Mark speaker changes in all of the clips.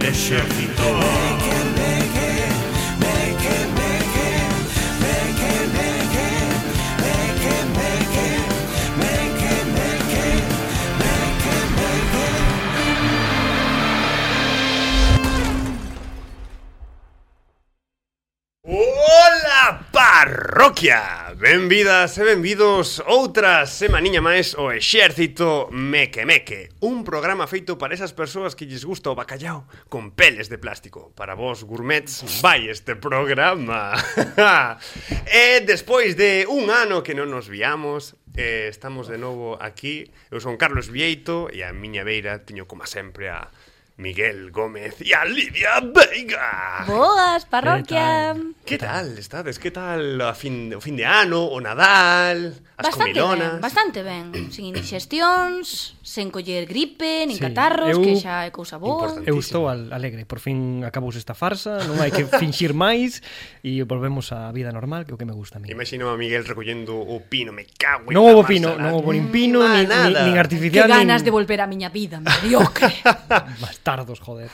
Speaker 1: ejército. Hola parroquia, benvidas e benvidos outra semaniña máis o Exército Meque Meque Un programa feito para esas persoas que lles gusta o bacallao con peles de plástico Para vos gourmets, vai este programa E despois de un ano que non nos viamos eh, Estamos de novo aquí Eu son Carlos Vieito e a miña beira teño como sempre a Miguel Gómez e a Lidia Veiga
Speaker 2: Boas, parroquia.
Speaker 1: Que tal estades? Que tal a fin, o fin de ano, o Nadal, as
Speaker 2: Bastante
Speaker 1: comilonas?
Speaker 2: ben, bastante ben. Sin inixestións, sen coller gripe, nin
Speaker 3: Sí,
Speaker 2: catarros,
Speaker 3: eu-
Speaker 2: que xa é cousa boa.
Speaker 1: Importante.
Speaker 3: Eu estou al alegre, por fin acabouse esta farsa, non hai que finxir máis e volvemos á vida normal, que é o que me gusta a mí.
Speaker 1: Imagino a Miguel recollendo o pino, me cago en
Speaker 3: Non
Speaker 1: la
Speaker 3: houve
Speaker 1: masa,
Speaker 3: pino,
Speaker 1: la-
Speaker 3: non houve nin pino,
Speaker 1: Ah,
Speaker 3: nin, nin,
Speaker 1: nada.
Speaker 3: nin
Speaker 2: Que
Speaker 3: artificial,
Speaker 2: ganas de
Speaker 3: nin
Speaker 2: volver á miña vida, mediocre.
Speaker 3: bastardos, joder.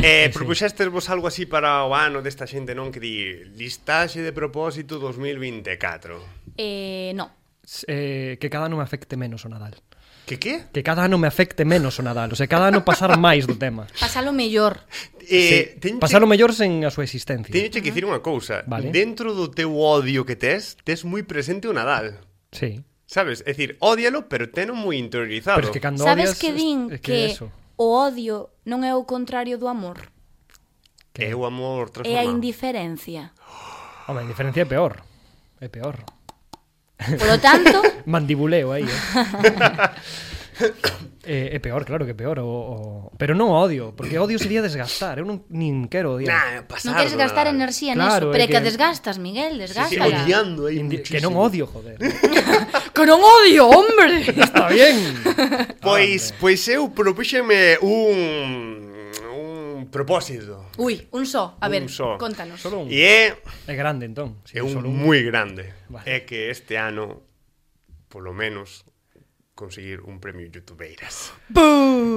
Speaker 1: Eh,
Speaker 3: Sí, sí.
Speaker 1: propuxestes vos algo así para o ano desta xente, non? Que di listaxe de propósito 2024.
Speaker 2: eh, no.
Speaker 3: S- eh, que cada ano me afecte menos o Nadal.
Speaker 1: Que que?
Speaker 3: Que cada ano me afecte menos o Nadal, o sea, cada ano pasar máis do tema.
Speaker 2: Pasalo mellor.
Speaker 1: Eh,
Speaker 3: sí,
Speaker 1: teñoche-
Speaker 3: pasar o mellor sen a súa existencia.
Speaker 1: Teñoche que dicir unha cousa.
Speaker 3: Vale.
Speaker 1: Dentro do teu odio que tes, tes moi presente o Nadal.
Speaker 3: Sí.
Speaker 1: Sabes? É dicir, ódialo, pero teno moi interiorizado.
Speaker 3: Pero es que cando
Speaker 2: Sabes
Speaker 3: odias,
Speaker 2: que din
Speaker 3: es
Speaker 2: que,
Speaker 3: eso,
Speaker 2: o odio non é o contrario do amor,
Speaker 1: É o amor
Speaker 2: é a
Speaker 1: transformado.
Speaker 2: indiferencia.
Speaker 3: Home, a indiferencia é peor. É peor.
Speaker 2: Polo tanto,
Speaker 3: Mandibuleo aí, eh. eh, é peor, claro que é peor, o, o... pero non o odio, porque odio sería desgastar, ¿eh? eu non nin quero odiar.
Speaker 1: Nah, pasado,
Speaker 2: non queres gastar
Speaker 1: Nadal.
Speaker 2: enerxía neso,
Speaker 3: Claro, é
Speaker 2: pero é que
Speaker 3: que-
Speaker 2: desgastas, Miguel,
Speaker 1: Sí, sí,
Speaker 2: desgásala.
Speaker 1: odiando aí
Speaker 3: Indi- que
Speaker 1: muchísimo.
Speaker 3: non odio, joder.
Speaker 2: que non odio, hombre.
Speaker 3: Está bien. Ah,
Speaker 1: Pois, pois eu propúxeme un un propósito.
Speaker 2: Ui, un só, a
Speaker 1: Un
Speaker 2: ver,
Speaker 1: só.
Speaker 2: contanos.
Speaker 3: Solo un.
Speaker 1: E é,
Speaker 3: É grande entón.
Speaker 1: é un
Speaker 3: solo
Speaker 1: moi grande.
Speaker 3: Vale.
Speaker 1: É que este ano, polo menos, conseguir un premio Youtubeiras.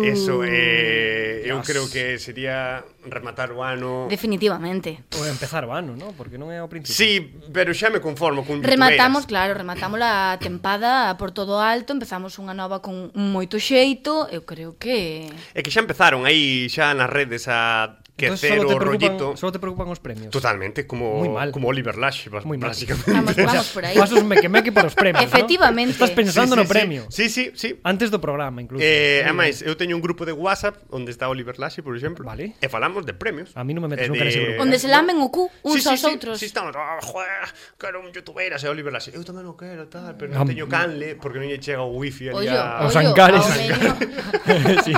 Speaker 1: Eso é, eu
Speaker 3: Dios.
Speaker 1: creo que sería rematar o ano...
Speaker 2: Definitivamente.
Speaker 3: O empezar o ano, ¿no? Porque non é ao principio.
Speaker 1: Sí, pero xa me conformo con
Speaker 2: Rematamos,
Speaker 1: Youtubeiras.
Speaker 2: claro, rematamos a tempada por todo alto, empezamos unha nova con moito xeito, eu creo que...
Speaker 1: É que xa empezaron aí xa nas redes a
Speaker 3: Entonces,
Speaker 1: quecer
Speaker 3: solo te
Speaker 1: o
Speaker 3: preocupan,
Speaker 1: rollito.
Speaker 3: Solo te preocupan os premios.
Speaker 1: Totalmente, como,
Speaker 3: Muy mal.
Speaker 1: como Oliver Lash, bas-
Speaker 3: Muy mal.
Speaker 1: básicamente.
Speaker 2: Vamos, vamos por aí.
Speaker 3: Pasos meque-meque para os premios,
Speaker 2: Efectivamente.
Speaker 3: ¿no? Estás pensando
Speaker 1: Sí, sí,
Speaker 3: no premio.
Speaker 1: Sí, sí, sí. sí.
Speaker 3: Antes do programa, incluso.
Speaker 1: Eh, ademais, eu teño un grupo de WhatsApp onde está Oliver Lashi, por exemplo,
Speaker 3: Vale.
Speaker 1: e falamos de premios.
Speaker 3: A mí non me
Speaker 1: Eh,
Speaker 3: metes nunca
Speaker 1: de-
Speaker 3: nese grupo.
Speaker 2: Onde se lamen o cu
Speaker 1: Sí,
Speaker 2: uns
Speaker 1: sí,
Speaker 2: aos
Speaker 1: sí,
Speaker 2: outros.
Speaker 1: Sí, estamos, oh, joder, quero un youtuber, e Oliver Lashi. Eu tamén o quero, tal, pero non
Speaker 3: Am-
Speaker 1: teño canle, porque non lle chega o wifi ali
Speaker 2: Ollo,
Speaker 1: a...
Speaker 3: Os
Speaker 2: ollo,
Speaker 3: hangares.
Speaker 2: pois ao mellor-
Speaker 3: sí.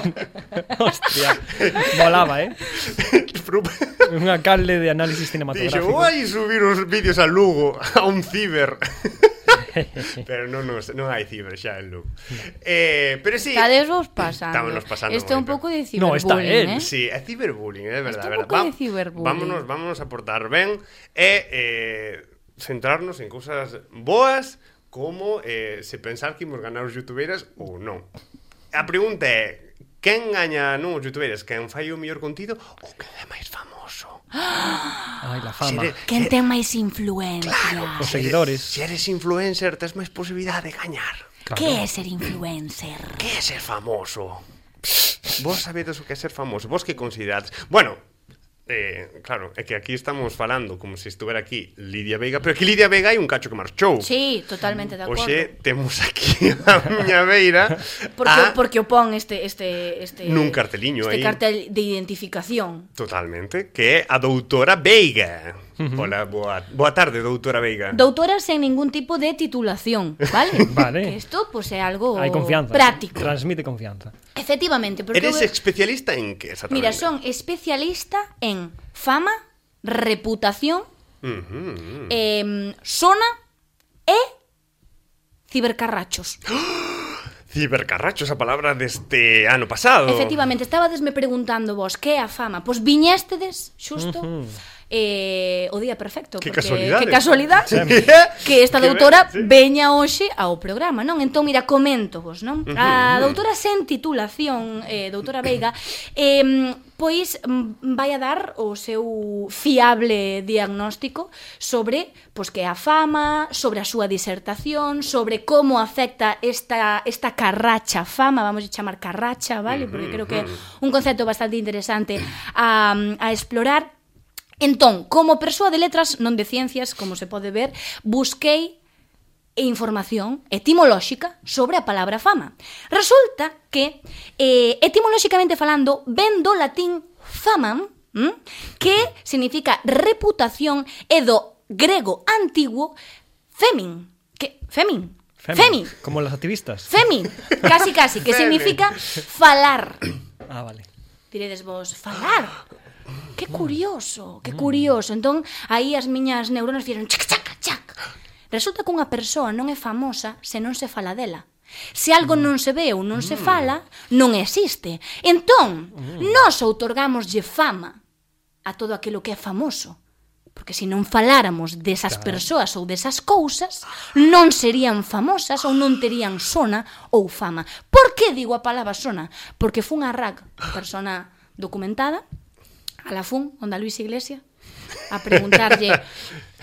Speaker 3: Hostia. Volaba, eh? Un alcalde de análisis
Speaker 1: Dixo,
Speaker 3: cinematográfico.
Speaker 1: vou aí subir os vídeos a Lugo, a un ciber. pero non, nos, non hai ciber xa en Lugo. Eh, pero sí,
Speaker 2: Cades vos pasando.
Speaker 1: Estámonos pasando
Speaker 2: Este é un
Speaker 1: moito.
Speaker 2: pouco de ciberbullying,
Speaker 3: No, está él,
Speaker 2: eh?
Speaker 1: Sí, é ciberbullying, é verdade,
Speaker 2: Está un
Speaker 1: verdade.
Speaker 2: pouco de
Speaker 1: Va-
Speaker 2: ciberbullying.
Speaker 1: Vámonos, vámonos a portar ben e eh, centrarnos en cousas boas como eh, se pensar que imos ganar os youtubeiras ou non. A pregunta é, quen gaña non os youtubeiras? Quen fai o mellor contido ou quen é máis famoso?
Speaker 3: Ai, la
Speaker 1: Se
Speaker 3: fama.
Speaker 1: eres-
Speaker 2: Quen ten máis influencia? Claro.
Speaker 3: Os seguidores.
Speaker 1: Se eres influencer, tes máis posibilidade de gañar.
Speaker 3: Claro.
Speaker 2: Que é ser influencer?
Speaker 1: Que é ser famoso? Vos sabedes o que é ser famoso, vos que considerades. Bueno, eh, claro, é que aquí estamos falando como se estuvera aquí Lidia Veiga, pero que Lidia Veiga hai un cacho que marchou.
Speaker 2: Sí, totalmente de acordo.
Speaker 1: Oxe, temos aquí a Ah, miña beira
Speaker 2: Porque,
Speaker 1: a...
Speaker 2: porque o pon este, este, este...
Speaker 1: Nun carteliño
Speaker 2: este
Speaker 1: aí.
Speaker 2: cartel de identificación.
Speaker 1: Totalmente, que é a doutora Veiga. Hola, boa, boa tarde, doutora Veiga.
Speaker 2: Doutora sen ningún tipo de titulación, vale?
Speaker 3: Vale.
Speaker 2: Que isto, pois, é algo
Speaker 3: Hai confianza.
Speaker 2: práctico.
Speaker 3: Transmite confianza.
Speaker 2: Efectivamente, porque...
Speaker 1: Eres
Speaker 2: eu-
Speaker 1: especialista en que exactamente?
Speaker 2: Mira, son especialista en fama, reputación,
Speaker 1: Ujú.
Speaker 2: em, sona e cibercarrachos.
Speaker 1: Oh. Cibercarracho, esa palabra deste ano pasado.
Speaker 2: Efectivamente, estabadesme preguntando vos que é a fama. Pois viñéstedes, xusto, eh, o día perfecto.
Speaker 1: Que
Speaker 2: porque-
Speaker 1: casualidade.
Speaker 2: Que casualidade. que esta
Speaker 1: Que ben,
Speaker 2: doutora
Speaker 1: sí.
Speaker 2: veña hoxe ao programa, non? Entón, mira, comento vos, non? A doutora sen titulación, eh, doutora Veiga, eh, pois mm, vai a dar o seu fiable diagnóstico sobre pois que é a fama, sobre a súa disertación, sobre como afecta esta esta carracha fama, vamos a chamar carracha, vale? Porque creo que é un concepto bastante interesante a, a explorar. Entón, como persoa de letras, non de ciencias, como se pode ver, busquei e información etimolóxica sobre a palabra fama. Resulta que, eh, etimolóxicamente falando, ven do latín famam, ¿m? que significa reputación, e do grego antiguo femin, que femin,
Speaker 3: Femi.
Speaker 2: femi,
Speaker 3: Como las activistas.
Speaker 2: femi, casi casi, que
Speaker 1: Femi.
Speaker 2: significa falar.
Speaker 3: Ah, vale.
Speaker 2: Diredes vos, falar. Que curioso, que curioso. Entón, aí as miñas neuronas fixeron chac, chac, chac. Resulta que unha persoa non é famosa se non se fala dela. Se algo non se ve ou non se fala, non existe. Entón, nós outorgámoslle fama a todo aquilo que é famoso. Porque se non faláramos desas persoas ou desas cousas, non serían famosas ou non terían sona ou fama. Por que digo a palabra sona? Porque fun a RAC, persona documentada, a la fun, onda Luis Iglesia, a preguntarlle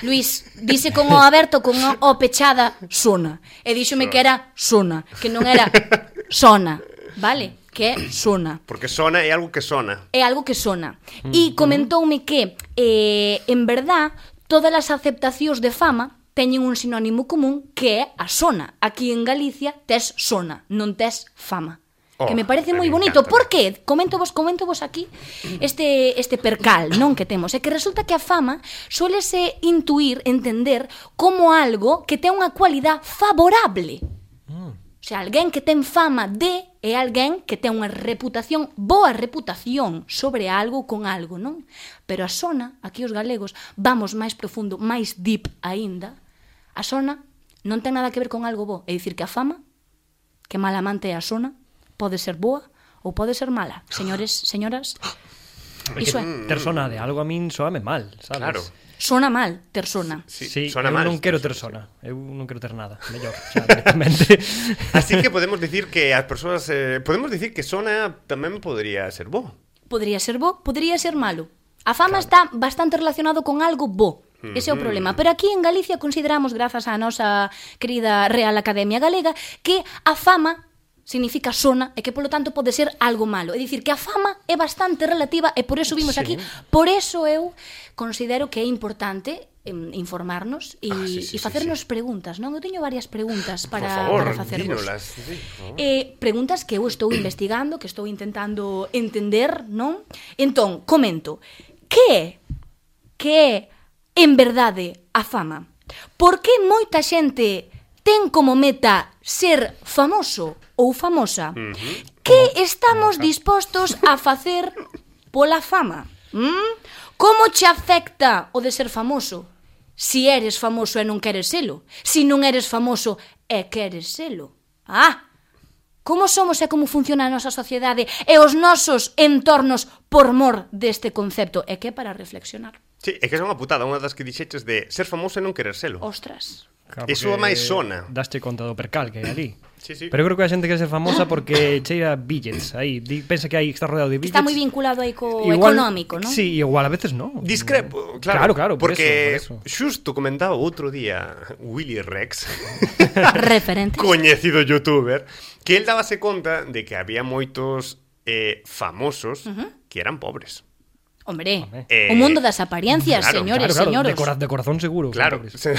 Speaker 2: Luis, dice con o aberto con o, o pechada sona e díxome que era sona que non era sona vale? que é sona
Speaker 1: Porque sona é algo que sona.
Speaker 2: é algo que sona. E
Speaker 1: Mm-hmm.
Speaker 2: comentoume que, eh, en verdad, todas as aceptacións de fama teñen un sinónimo común que é a sona. Aquí en Galicia tes sona, non tes fama.
Speaker 1: Oh,
Speaker 2: que me parece
Speaker 1: a
Speaker 2: moi
Speaker 1: mí me
Speaker 2: bonito.
Speaker 1: encanta.
Speaker 2: Por que? Comento vos, comento vos aquí este, este percal non que temos. É que resulta que a fama suélese intuir, entender como algo que ten unha cualidad favorable. O sea, alguén que ten fama de é alguén que ten unha reputación, boa reputación sobre algo con algo, non? Pero a sona, aquí os galegos, vamos máis profundo, máis deep aínda, a sona non ten nada que ver con algo bo. É dicir que a fama, que mala amante é a sona, pode ser boa ou pode ser mala. Señores, señoras, iso é.
Speaker 3: Ter sona de algo a min soame mal, sabes?
Speaker 1: Claro.
Speaker 2: Sona mal, ter sona.
Speaker 1: Sí,
Speaker 3: Sí,
Speaker 1: sona
Speaker 3: eu
Speaker 1: mal.
Speaker 3: non quero ter sona. Eu non quero ter nada. Mellor, xa, directamente.
Speaker 1: Así que podemos dicir que as persoas eh, podemos dicir que sona tamén podría ser bo.
Speaker 2: Podría ser bo, podría ser malo. A fama está bastante relacionado con algo bo. Ese é o problema. Pero aquí en Galicia consideramos, grazas á nosa querida Real Academia Galega, que a fama significa sona e que polo tanto pode ser algo malo. É dicir, que a fama é bastante relativa e por eso vimos
Speaker 3: Sí.
Speaker 2: aquí, por eso eu considero que é importante em, informarnos e,
Speaker 1: Ah, sí, sí,
Speaker 2: e
Speaker 1: sí,
Speaker 2: facernos preguntas, non? Eu teño varias preguntas para,
Speaker 1: por
Speaker 2: para
Speaker 1: favor,
Speaker 2: facervos.
Speaker 1: dínolas. Sí, por favor.
Speaker 2: Eh, preguntas que eu estou investigando, que estou intentando entender, non? Entón, comento, que é que é en verdade a fama? Por que moita xente ten como meta ser famoso ou famosa? Que estamos dispostos a facer pola fama? Mm? Como che afecta o de ser famoso? Si eres famoso e non queres selo. Si non eres famoso e queres selo. Ah, Como somos e como funciona a nosa sociedade e os nosos entornos por mor deste concepto? É que é para reflexionar.
Speaker 1: Sí, é que é unha putada, unha das que dixeches de ser famoso e non querer selo.
Speaker 2: Ostras.
Speaker 3: Claro,
Speaker 1: Iso
Speaker 3: porque
Speaker 1: máis sona.
Speaker 3: Daste conta do percal que hai ali.
Speaker 1: Sí, sí.
Speaker 3: Pero eu creo que a xente quer ser famosa porque cheira billets aí. Di, pensa que aí está rodeado de billets.
Speaker 2: Está moi vinculado aí co económico, non?
Speaker 3: Sí, igual a veces non.
Speaker 1: Discrepo, claro,
Speaker 3: Mm. Claro, claro, por
Speaker 1: porque
Speaker 3: eso, por eso.
Speaker 1: xusto comentaba outro día Willy Rex,
Speaker 2: Referente.
Speaker 1: coñecido youtuber, que el dábase conta de que había moitos eh, famosos uh -huh. que eran pobres.
Speaker 2: Hombre,
Speaker 1: Eh,
Speaker 2: o mundo das apariencias,
Speaker 1: claro,
Speaker 2: señores,
Speaker 3: claro, claro,
Speaker 2: señoros.
Speaker 3: de, cora de corazón seguro.
Speaker 1: Claro,
Speaker 3: pobres.
Speaker 1: se-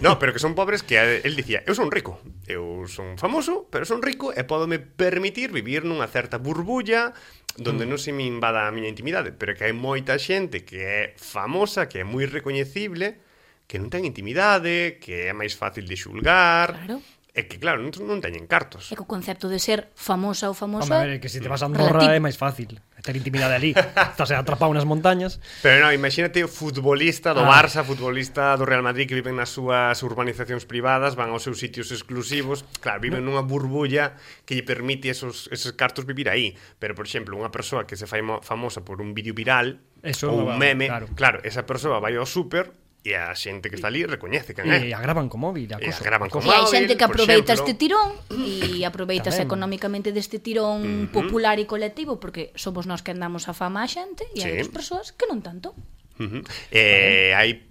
Speaker 1: no, pero que son pobres que eh, el dicía, eu son rico, eu son famoso, pero son rico e podome permitir vivir nunha certa burbulla donde non se me invada a miña intimidade, pero que hai moita xente que é famosa, que é moi recoñecible, que non ten intimidade, que é máis fácil de xulgar,
Speaker 2: Claro.
Speaker 1: e que claro, non, non teñen cartos.
Speaker 2: E co concepto de ser famosa ou famoso
Speaker 3: Home, a ver,
Speaker 2: é
Speaker 3: que se te vas a Andorra
Speaker 2: relativo.
Speaker 3: é máis fácil. Ter intimidade ali. Estás atrapado nas montañas.
Speaker 1: Pero non, imagínate o futbolista do
Speaker 3: Ah.
Speaker 1: Barça, futbolista do Real Madrid que viven nas súas urbanizacións privadas, van aos seus sitios exclusivos, claro, viven nunha burbulla que lle permite esos, esos cartos vivir aí. Pero, por exemplo, unha persoa que se fai mo- famosa por un vídeo viral
Speaker 3: Eso
Speaker 1: ou un
Speaker 3: non va-
Speaker 1: meme, claro.
Speaker 3: claro.
Speaker 1: esa persoa vai ao súper E a xente que está ali recoñece quen é.
Speaker 3: E agravan co móvil a
Speaker 1: E
Speaker 3: cosa.
Speaker 1: Eh. agravan co
Speaker 2: E hai
Speaker 1: móvil,
Speaker 2: xente que
Speaker 1: por
Speaker 2: aproveita
Speaker 1: exemplo.
Speaker 2: este tirón e aproveitas
Speaker 3: Tamén.
Speaker 2: económicamente deste tirón popular e colectivo porque somos nós que andamos a fama a xente e
Speaker 1: Sí.
Speaker 2: hai outras persoas que non tanto.
Speaker 1: Ujú. Eh, hai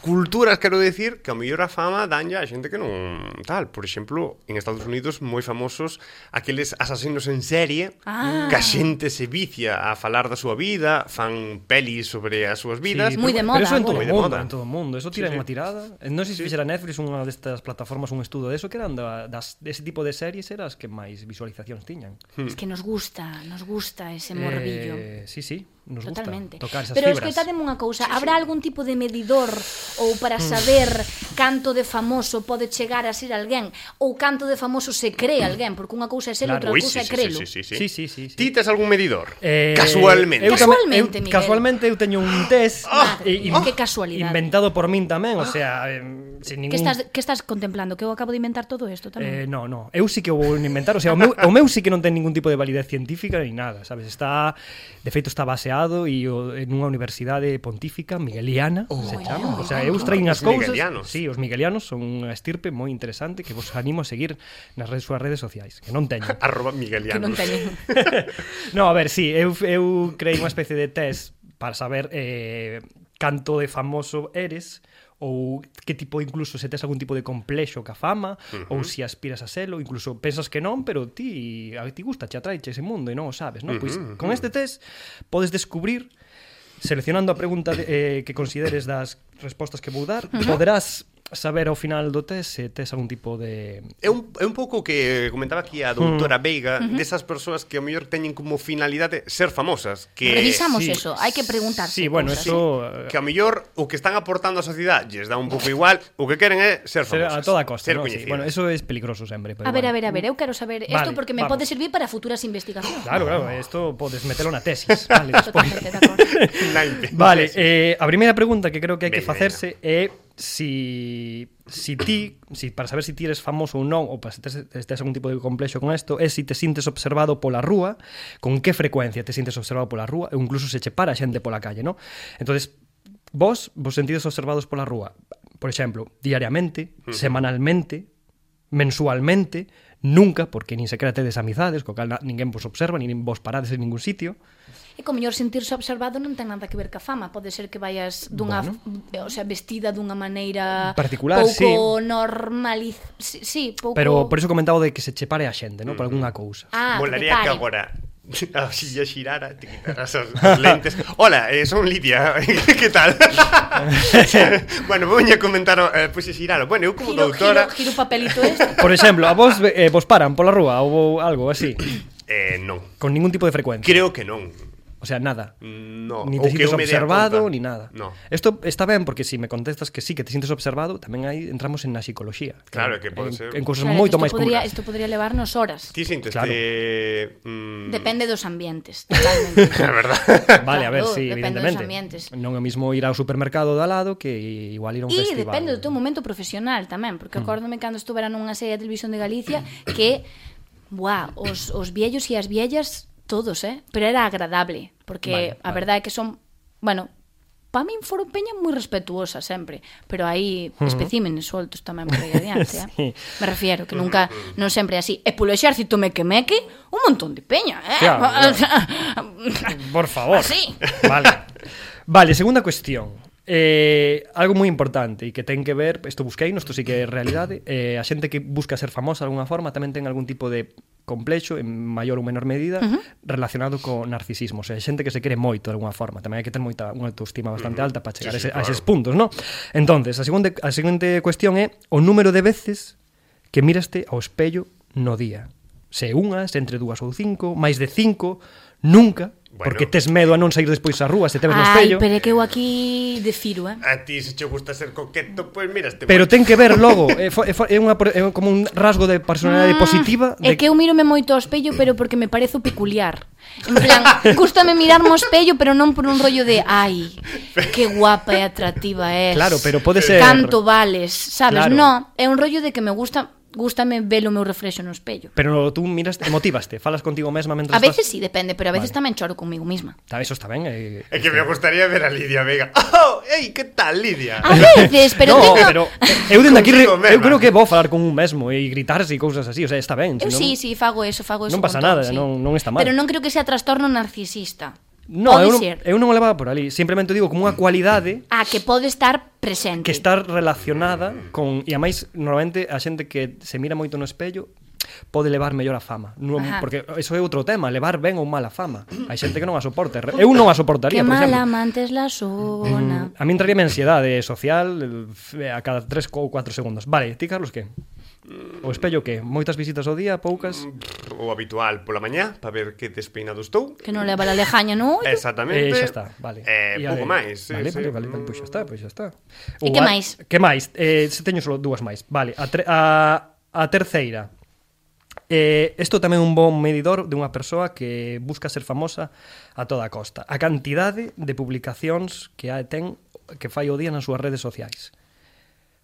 Speaker 1: culturas, quero dicir, que a mellor a fama danlle a xente que non tal. Por exemplo, en Estados Unidos moi famosos aqueles asasinos en serie
Speaker 2: Ah.
Speaker 1: que a xente se vicia a falar da súa vida, fan pelis sobre as súas vidas.
Speaker 2: Moi de moda
Speaker 3: Pero eso en todo
Speaker 2: agora.
Speaker 3: o
Speaker 1: Moi de
Speaker 3: mundo,
Speaker 1: moda.
Speaker 3: en todo o mundo. Eso tira
Speaker 1: Sí,
Speaker 3: sí,
Speaker 1: sí.
Speaker 3: unha tirada. Eh, Non sei se fixera Netflix unha destas plataformas un estudo de eso que eran da, das, dese tipo de series eran as que máis visualizacións tiñan.
Speaker 2: Es que nos gusta, nos gusta ese morbillo.
Speaker 3: Hmm. Eh, sí, sí, nos
Speaker 2: Totalmente.
Speaker 3: gusta tocar esas
Speaker 2: Pero
Speaker 3: fibras. Mm.
Speaker 2: escoitademe unha cousa, habrá algún tipo de medidor ou para saber canto de famoso pode chegar a ser alguén ou canto de famoso se cree alguén, porque unha cousa é ser,
Speaker 3: Mm. Claro.
Speaker 2: outra
Speaker 1: Ui, sí,
Speaker 2: cousa é
Speaker 1: sí,
Speaker 2: crelo.
Speaker 1: sí, sí, sí.
Speaker 3: Sí, sí, sí, sí.
Speaker 1: Ti tes algún medidor?
Speaker 3: Eh,
Speaker 1: Casualmente.
Speaker 3: eu tamén-
Speaker 2: Casualmente,
Speaker 3: eu,
Speaker 2: Miguel.
Speaker 3: Casualmente eu teño un test
Speaker 2: Madre,
Speaker 3: eh,
Speaker 2: que casualidade.
Speaker 3: Inventado por min tamén, o sea, eh, sin ningún
Speaker 2: Que estás Ah, que estás contemplando que eu acabo de inventar todo isto
Speaker 3: Eh,
Speaker 2: tamén.
Speaker 3: no, no, eu sí que o vou inventar, o sea, o meu, o meu sí que non ten ningún tipo de validez científica ni nada, sabes? Está de feito está baseado e o, en unha universidade pontífica migueliana, oh, se chama, o sea, eu traín as
Speaker 1: Os
Speaker 3: cousas.
Speaker 1: miguelianos.
Speaker 3: Sí, os miguelianos son unha estirpe moi interesante que vos animo a seguir nas redes, súas redes sociais, que non teñen.
Speaker 1: Arroba
Speaker 2: que non
Speaker 1: Miguelianos.
Speaker 2: teñen.
Speaker 3: no, a ver, sí, eu, eu creei unha especie de test para saber eh, canto de famoso eres ou que tipo incluso se tes algún tipo de complexo ca fama uh -huh. ou si aspiras a selo, incluso pensas que non, pero ti a ti gusta, che atraiche ese mundo e non o sabes, non? Pois uh -huh. con este test podes descubrir seleccionando a pregunta de, eh, que consideres das respostas que vou dar, poderás saber ao final do test se tes algún tipo de
Speaker 1: É un, é un pouco que comentaba aquí a
Speaker 3: Hmm.
Speaker 1: doutora Veiga desas persoas que ao mellor teñen como finalidade ser famosas que
Speaker 2: Revisamos eso, hai que preguntarse
Speaker 3: Sí, bueno,
Speaker 2: cousas. eh.
Speaker 3: eso eh,
Speaker 1: que a mellor o que están aportando á sociedade lles dá un pouco igual, o que queren é ser
Speaker 3: Ser
Speaker 1: famosas.
Speaker 3: a toda costa,
Speaker 1: ser
Speaker 3: ¿no? Sí.
Speaker 1: coñecidas.
Speaker 3: Bueno, eso es peligroso siempre.
Speaker 2: A
Speaker 3: Pero
Speaker 2: ver, a
Speaker 3: bueno.
Speaker 2: ver, a ver, eu quero saber isto
Speaker 3: Vale,
Speaker 2: porque me
Speaker 3: vamos.
Speaker 2: pode servir para futuras investigacións.
Speaker 3: Claro, claro, esto podes metelo na tesis. Vale, despois.
Speaker 2: Totalmente de acordo.
Speaker 1: Nainte.
Speaker 3: vale eh, a primeira pregunta que creo que hai que
Speaker 1: Venga,
Speaker 3: facerse é si, si ti, si, para saber si ti eres famoso ou non, ou para se tes, se tes algún tipo de complexo con isto, é si te sintes observado pola rúa, con que frecuencia te sintes observado pola rúa, e incluso se che para xente pola calle, non? entonces vos vos sentides observados pola rúa, por exemplo, diariamente, semanalmente, mensualmente, nunca, porque nin sequera tedes amizades, co cal na- ninguén vos observa, nin vos parades en ningún sitio,
Speaker 2: E como mellor sentirse observado non ten nada que ver ca fama, pode ser que vayas dunha, bueno. o sea, vestida dunha maneira
Speaker 3: Particular,
Speaker 2: pouco normaliz, si, sí, pouco
Speaker 3: Pero por iso comentaba de que se chepare a xente, non? Por algunha cousa.
Speaker 2: Ah,
Speaker 1: Volaría que
Speaker 2: que agora.
Speaker 1: agora a silla xirara, te quitarás as, as lentes. Hola, eh, son Lidia, que tal? bueno, vou a comentar, eh, pois pues, xiralo. Bueno, eu como
Speaker 2: Giro, giro,
Speaker 1: doutora...
Speaker 2: giro papelito este.
Speaker 3: Por exemplo, a vos eh, vos paran pola rúa ou algo así,
Speaker 1: Eh, non,
Speaker 3: con ningún tipo de frecuencia.
Speaker 1: creo que non.
Speaker 3: O sea, nada.
Speaker 1: No,
Speaker 3: Ni
Speaker 1: o
Speaker 3: te
Speaker 1: que
Speaker 3: sintes
Speaker 1: eu me dea
Speaker 3: observado
Speaker 1: conta.
Speaker 3: ni nada.
Speaker 1: No.
Speaker 3: Esto está ben porque si me contestas que sí que te sintes observado, tamén aí entramos en na psicología.
Speaker 1: Claro, que pode
Speaker 3: en,
Speaker 1: ser.
Speaker 3: En cousas
Speaker 2: Claro,
Speaker 3: moito
Speaker 2: que
Speaker 3: máis
Speaker 2: isto podría,
Speaker 3: puras.
Speaker 2: Isto podría levarnos horas.
Speaker 1: Ti sintes
Speaker 3: Claro.
Speaker 1: te... Mm,
Speaker 2: Depende dos ambientes, totalmente.
Speaker 1: A verdad.
Speaker 3: Vale, a ver,
Speaker 2: Claro,
Speaker 3: si, sí,
Speaker 2: depende dos
Speaker 3: evidentemente.
Speaker 2: ambientes.
Speaker 3: Non é o mismo ir ao supermercado de al lado que igual ir a un
Speaker 2: E
Speaker 3: festival. Mm.
Speaker 2: depende do teu momento profesional tamén, porque acórdome cando estuvera nunha serie de televisión de Galicia que, buá, os, os viellos e as viellas, todos, eh? Pero era agradable, porque
Speaker 3: Vale,
Speaker 2: vale, a
Speaker 3: vale.
Speaker 2: verdade é que son, bueno, pa min foron peña moi respetuosa sempre, pero hai especímenes soltos tamén por aí adiante, eh?
Speaker 3: Sí.
Speaker 2: Me refiero, que nunca, non sempre é así. E polo exército me que meque, un montón de peña, eh?
Speaker 3: Claro, Por favor.
Speaker 2: Así.
Speaker 3: Vale. Vale, segunda cuestión. Eh, algo moi importante e que ten que ver, isto busquei, isto sí que é realidade, eh, a xente que busca ser famosa de alguna forma tamén ten algún tipo de complexo en maior ou menor medida uh -huh. relacionado co narcisismo, o sea, xente que se quere moito de alguna forma, tamén hai que ter moita unha autoestima bastante alta para chegar
Speaker 1: Sí, sí,
Speaker 3: a, ese, claro. a
Speaker 1: claro.
Speaker 3: eses puntos, ¿no? Entonces, a segunda a seguinte cuestión é o número de veces que miraste ao espello no día. Se unhas, entre dúas ou cinco, máis de cinco, nunca,
Speaker 1: Bueno.
Speaker 3: bueno. porque tes medo a non sair despois á rúa se te ves no
Speaker 2: Ai,
Speaker 3: espello.
Speaker 2: pero é que eu aquí defiro, eh?
Speaker 1: A ti se che gusta ser coqueto, pois pues mira este
Speaker 3: Pero ten que ver logo, é, fo- é, fo- é, unha, pro- é como un rasgo de
Speaker 2: Ah,
Speaker 3: personalidade Eh, positiva
Speaker 2: É
Speaker 3: de
Speaker 2: que eu mírome moito ao espello, pero porque me parezo peculiar. En plan, gustame mirarme ao espello, pero non por un rollo de ai, que guapa e atractiva es.
Speaker 3: Claro, pero pode ser-
Speaker 2: Canto vales, sabes?
Speaker 3: Claro.
Speaker 2: No, é un rollo de que me gusta gústame ver o meu reflexo no espello.
Speaker 3: Pero tú miras, motivaste, falas contigo mesma
Speaker 2: A
Speaker 3: mentras
Speaker 2: veces
Speaker 3: estás...
Speaker 2: sí, depende, pero a veces
Speaker 3: Vale.
Speaker 2: tamén choro comigo misma.
Speaker 3: Ta, Eso está ben. Eh,
Speaker 1: É que me gustaría ver a Lidia Vega. ¡Oh! ¡Ey! ¿Qué tal, Lidia?
Speaker 2: A veces, pero
Speaker 3: Ah, no,
Speaker 2: tengo...
Speaker 3: pero eu dende aquí
Speaker 1: Contigo
Speaker 3: eu
Speaker 1: mesma.
Speaker 3: creo que vou falar con un mesmo e gritarse e cousas así, o sea, está ben,
Speaker 2: Eu
Speaker 3: senón-
Speaker 2: sí, sí, fago eso, fago eso.
Speaker 3: Non pasa
Speaker 2: con todo,
Speaker 3: nada,
Speaker 2: sí.
Speaker 3: non- non está mal.
Speaker 2: Pero non creo que sea trastorno narcisista.
Speaker 3: No,
Speaker 2: Pode
Speaker 3: eu non,
Speaker 2: ser.
Speaker 3: eu non o levaba por ali, simplemente o digo como unha cualidade
Speaker 2: Ah, que pode estar presente.
Speaker 3: que está relacionada con e a máis normalmente a xente que se mira moito no espello pode levar mellor a fama non,
Speaker 2: Ajá.
Speaker 3: porque eso é outro tema, levar ben ou mal a fama hai xente que non a soporta, eu non a soportaría
Speaker 2: Que
Speaker 3: por
Speaker 2: mal
Speaker 3: exemplo Mm,
Speaker 2: amante es la zona.
Speaker 3: A mí entraría ansiedade social eh, a cada 3 ou 4 segundos. Vale, ti, Carlos, que? O espello que? Moitas visitas ao día, poucas?
Speaker 1: O habitual pola mañá, para ver que despeinado estou.
Speaker 2: Que non leva la lejaña, no? ollo.
Speaker 1: Exactamente.
Speaker 3: Eh, xa está, vale.
Speaker 1: Eh,
Speaker 3: E a
Speaker 1: pouco
Speaker 3: de-
Speaker 1: máis. sí,
Speaker 3: vale,
Speaker 1: sí.
Speaker 3: vale, vale, vale, pois xa está, pois xa está.
Speaker 2: E
Speaker 3: O
Speaker 2: que
Speaker 3: a-
Speaker 2: máis?
Speaker 3: Que máis? Eh, se teño só dúas máis. Vale, a, tre, a, a terceira. Eh, isto tamén é un bon medidor de unha persoa que busca ser famosa a toda costa. A cantidade de publicacións que a ten que fai o día nas súas redes sociais.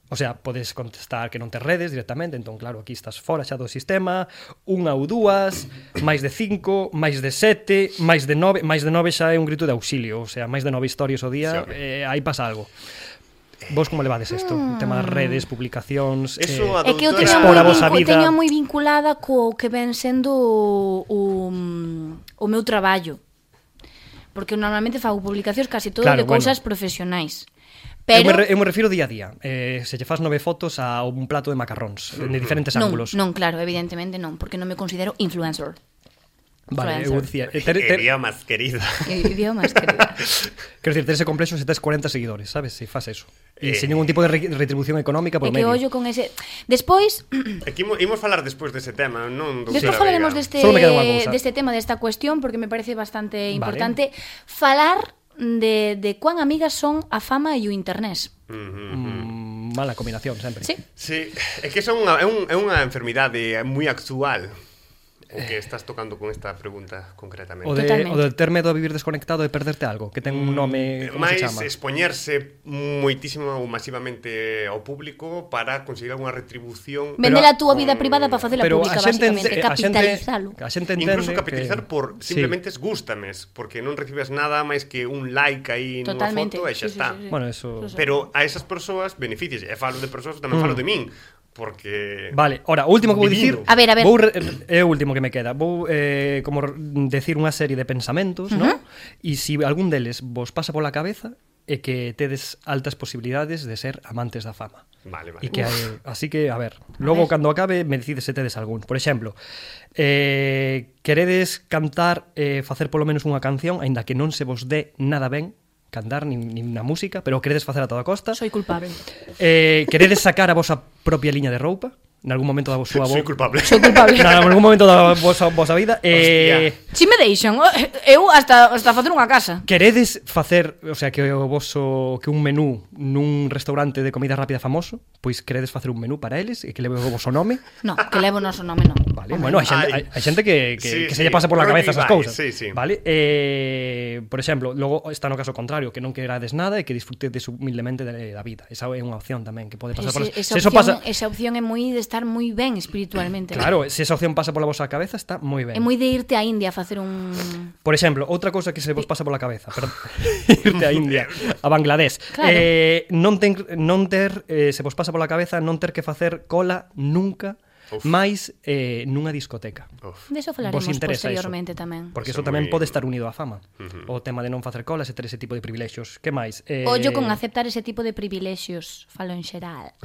Speaker 3: O sea, podes contestar que non te redes directamente, entón, claro, aquí estás fora xa do sistema, unha ou dúas, máis de cinco, máis de sete, máis de nove, máis de nove xa é un grito de auxilio, o sea, máis de nove historias o día,
Speaker 1: Sí, home.
Speaker 3: eh, aí pasa algo. Vos como levades isto?
Speaker 2: Ah.
Speaker 3: Mm. Tema de redes, publicacións... eh,
Speaker 1: Eso a
Speaker 2: É que eu
Speaker 1: Doutora-
Speaker 2: teño
Speaker 3: Expor
Speaker 2: moi,
Speaker 3: a vosa
Speaker 2: vincu-
Speaker 3: vida.
Speaker 2: teño moi vinculada co que ven sendo o, o, mm, o meu traballo. Porque eu normalmente fago publicacións casi todo claro, de
Speaker 3: Claro,
Speaker 2: cousas bueno.
Speaker 3: bueno.
Speaker 2: profesionais.
Speaker 3: Pero... Eu, me
Speaker 2: Pero
Speaker 3: re, eu me refiro día a día. Eh, se lle fas nove fotos a un plato de macarróns,
Speaker 1: Mm.
Speaker 3: de diferentes
Speaker 2: non,
Speaker 3: ángulos.
Speaker 2: non, claro, evidentemente non, porque non me considero influencer.
Speaker 3: Vale, eu
Speaker 2: influencer.
Speaker 3: dicía... Eh, ter, ter,
Speaker 1: Quería máis querida.
Speaker 2: E- Idiomas, querida.
Speaker 3: quero dicir, ter ese complexo se tes 40 seguidores, sabes? Se fas eso.
Speaker 1: Eh.
Speaker 3: E sen ningún tipo de re, retribución económica
Speaker 2: É
Speaker 3: por
Speaker 2: que
Speaker 3: medio.
Speaker 2: ollo con ese... Despois,
Speaker 1: Aquí imo- imos falar despois dese tema, non do
Speaker 2: Despois
Speaker 1: Sara
Speaker 2: falaremos
Speaker 1: Vega.
Speaker 2: deste
Speaker 3: Solo me queda unha cousa.
Speaker 2: deste tema, desta cuestión porque me parece bastante importante falar de de cuán amigas son a fama e o internet.
Speaker 3: Mm, mala combinación sempre.
Speaker 2: Sí.
Speaker 1: Sí, é que son unha, é, un, é unha enfermidade moi actual o que estás tocando con esta pregunta concretamente.
Speaker 3: O de,
Speaker 2: Totalmente.
Speaker 3: o de ter medo a vivir desconectado e perderte algo, que ten un
Speaker 1: Mm,
Speaker 3: nome, como se
Speaker 1: Eh, máis
Speaker 3: chama?
Speaker 1: expoñerse moitísimo ou masivamente ao público para conseguir unha retribución
Speaker 2: Vender a
Speaker 1: Pero-
Speaker 2: túa vida privada para facela
Speaker 3: eh, Pero
Speaker 2: pública,
Speaker 3: a xente,
Speaker 2: basicamente,
Speaker 3: ente- a xente,
Speaker 2: capitalizalo.
Speaker 3: a xente entende
Speaker 1: Incluso capitalizar
Speaker 3: que...
Speaker 1: por simplemente sí. gústames, porque non recibes nada máis que un like aí nunha
Speaker 2: Totalmente.
Speaker 1: foto e xa
Speaker 2: Sí, sí,
Speaker 1: está.
Speaker 2: sí,
Speaker 3: Sí. Bueno, eso...
Speaker 2: Eso
Speaker 1: Pero a esas persoas beneficias, e falo de persoas, tamén falo de min, porque
Speaker 3: Mm. Vale, ora, o último que vou dicir,
Speaker 1: Vivindo.
Speaker 2: A ver, a ver.
Speaker 3: Vou re- é o último que me queda. Vou eh como r- decir unha serie de pensamentos, uh -huh. ¿no? E se si algún deles vos pasa pola cabeza é que tedes altas posibilidades de ser amantes da fama.
Speaker 1: Vale, vale.
Speaker 3: E que
Speaker 1: Uf.
Speaker 3: eh, así que a ver, logo cando acabe me decides se tedes algún. Por exemplo, eh queredes cantar eh facer polo menos unha canción, aínda que non se vos dé nada ben cantar nin, nin na música, pero o queredes facer a toda costa.
Speaker 2: Soy culpable.
Speaker 3: Eh, queredes sacar a vosa propia liña de roupa? Nalgún momento da vosa
Speaker 1: soy
Speaker 3: bo...
Speaker 1: culpable.
Speaker 2: Soy culpable.
Speaker 3: Na, algún momento da vosa, vosa vida eh,
Speaker 2: Si me deixan, oh, eh, eu hasta hasta facer unha casa.
Speaker 3: Queredes facer O sea, que o voso Que un menú Nun restaurante de comida rápida famoso Pois queredes facer un menú para eles E que leve o voso nome
Speaker 2: No, que levo o noso nome, non.
Speaker 3: Vale, bueno, hai xente,
Speaker 1: Ai.
Speaker 3: hai, hai xente que, que,
Speaker 1: Sí,
Speaker 3: que
Speaker 1: sí.
Speaker 3: se lle pasa por la
Speaker 1: Creo
Speaker 3: cabeza
Speaker 1: que
Speaker 3: esas
Speaker 1: vai,
Speaker 3: cousas.
Speaker 1: sí, sí.
Speaker 3: Vale? Eh, por exemplo, logo está no caso contrario, que non querades nada e que disfrutedes humildemente de- da vida. Esa é unha opción tamén que pode
Speaker 2: Pero
Speaker 3: pasar
Speaker 2: ese-
Speaker 3: por...
Speaker 2: esa,
Speaker 3: se eso
Speaker 2: opción,
Speaker 3: pasa,
Speaker 2: esa opción é moi de estar moi ben espiritualmente.
Speaker 3: Claro, se esa opción pasa pola vosa cabeza está moi ben.
Speaker 2: É moi de irte a India a facer un
Speaker 3: Por exemplo, outra cousa que se vos pasa pola cabeza, pero irte a India, a Bangladesh.
Speaker 2: Claro.
Speaker 3: Eh, non ten non ter eh, se vos pasa pola cabeza non ter que facer cola nunca
Speaker 1: Uf.
Speaker 3: máis eh, nunha discoteca.
Speaker 1: Uf.
Speaker 2: De eso falaremos
Speaker 3: Vos interesa
Speaker 2: posteriormente tamén.
Speaker 3: Porque
Speaker 1: Eso
Speaker 3: eso, tamén
Speaker 1: moi-
Speaker 3: pode estar unido á fama. O tema de non facer colas e ter ese tipo de privilexios. Que máis? Eh,
Speaker 2: Ollo con aceptar ese tipo de privilexios, falo en xeral.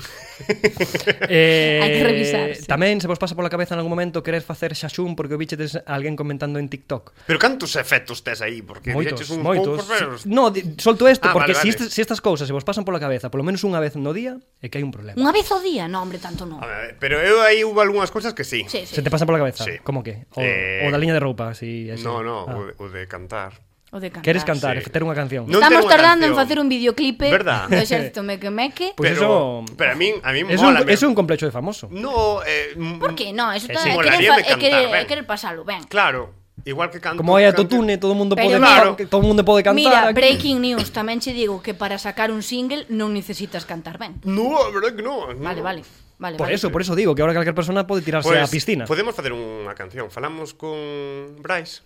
Speaker 3: Eh,
Speaker 2: Hai que revisar, sí.
Speaker 3: Tamén se vos pasa pola cabeza en algún momento querer facer xaxún porque o bichetes alguén comentando en TikTok.
Speaker 1: Pero cantos efectos tes aí? Porque
Speaker 3: Moitos,
Speaker 1: direches uns poucos,
Speaker 3: moitos.
Speaker 1: pero...
Speaker 3: Si- No, di- solto isto
Speaker 1: Ah,
Speaker 3: porque
Speaker 1: vale,
Speaker 3: si,
Speaker 1: vale.
Speaker 3: estes, si estas cousas se vos pasan pola cabeza polo menos unha vez no día, é que hai un problema.
Speaker 2: Unha vez ao día? No, hombre, tanto non.
Speaker 1: A ver, pero eu aí hubo algunhas cousas que sí.
Speaker 2: Sí, sí.
Speaker 3: Se te pasan pola cabeza?
Speaker 1: Sí.
Speaker 3: Como que? O,
Speaker 1: Eh,
Speaker 3: o da liña de roupa, si así.
Speaker 1: No, no,
Speaker 3: Ah.
Speaker 1: o, de, o de cantar.
Speaker 2: O de cantar.
Speaker 3: Queres cantar,
Speaker 1: Sí.
Speaker 3: ter unha canción.
Speaker 1: No tengo
Speaker 2: Estamos
Speaker 1: una
Speaker 2: tardando en
Speaker 1: canción.
Speaker 2: facer un videoclipe
Speaker 1: Verdad.
Speaker 2: do Exército Mequemeque.
Speaker 3: Pues
Speaker 1: pero,
Speaker 3: eso-
Speaker 1: pero a min, a min
Speaker 3: Es un,
Speaker 1: mola.
Speaker 3: es un complexo de famoso.
Speaker 1: No, eh, m-
Speaker 2: Por que? No, eso
Speaker 3: Que
Speaker 2: está...
Speaker 3: sí.
Speaker 2: é querer,
Speaker 1: Molaría
Speaker 2: fa-
Speaker 1: de
Speaker 2: é querer,
Speaker 1: cantar,
Speaker 2: é
Speaker 1: ben.
Speaker 2: querer pasalo, ben.
Speaker 1: Claro, igual que canto...
Speaker 3: Como hai
Speaker 1: canto-
Speaker 3: autotune, todo mundo
Speaker 2: Pero
Speaker 3: pode
Speaker 1: mira-
Speaker 3: todo mundo pode cantar.
Speaker 2: Mira,
Speaker 3: aquí.
Speaker 2: Breaking News, tamén che digo que para sacar un single non necesitas cantar ben.
Speaker 1: No, a verdade que no. no.
Speaker 2: Vale, vale. Vale,
Speaker 3: Mm. Por
Speaker 2: vale.
Speaker 3: eso, por eso digo que ahora calquer persona pode tirarse á
Speaker 1: Pois,
Speaker 3: piscina.
Speaker 1: Podemos facer unha canción. Falamos con Bryce.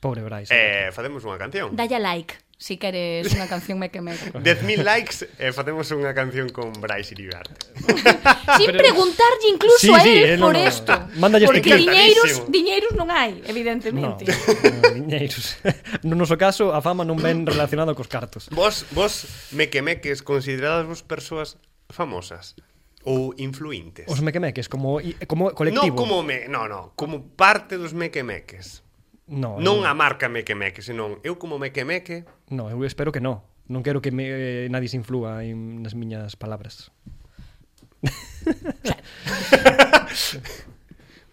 Speaker 3: Pobre Bryce.
Speaker 1: Eh, facemos unha canción.
Speaker 2: Dalla like, si queres unha canción meque meque.
Speaker 1: 10.000 likes e eh, facemos unha canción con Bryce Iriarte.
Speaker 2: Sin preguntarlle incluso a
Speaker 3: Ah, Sí, sí,
Speaker 2: él
Speaker 3: eh,
Speaker 2: por
Speaker 3: no, no.
Speaker 2: esto.
Speaker 3: Mándalle
Speaker 1: Porque este-
Speaker 2: Porque diñeiros,
Speaker 1: Encantadísimo.
Speaker 2: diñeiros non hai,
Speaker 3: No,
Speaker 2: evidentemente.
Speaker 3: no, diñeiros. No noso caso, a fama non ven relacionado cos cartos.
Speaker 1: Vos, vos mequemeques, consideradas vos persoas famosas ou influintes?
Speaker 3: Os mequemeques como i-
Speaker 1: non
Speaker 3: como colectivo.
Speaker 1: como me, no, no, como parte dos mequemeques.
Speaker 3: no,
Speaker 1: Non a marca mequemeque, senón eu como mequemeque
Speaker 3: No, eu espero que no. Non quero que me, eh, nadie se inflúa en, nas miñas palabras.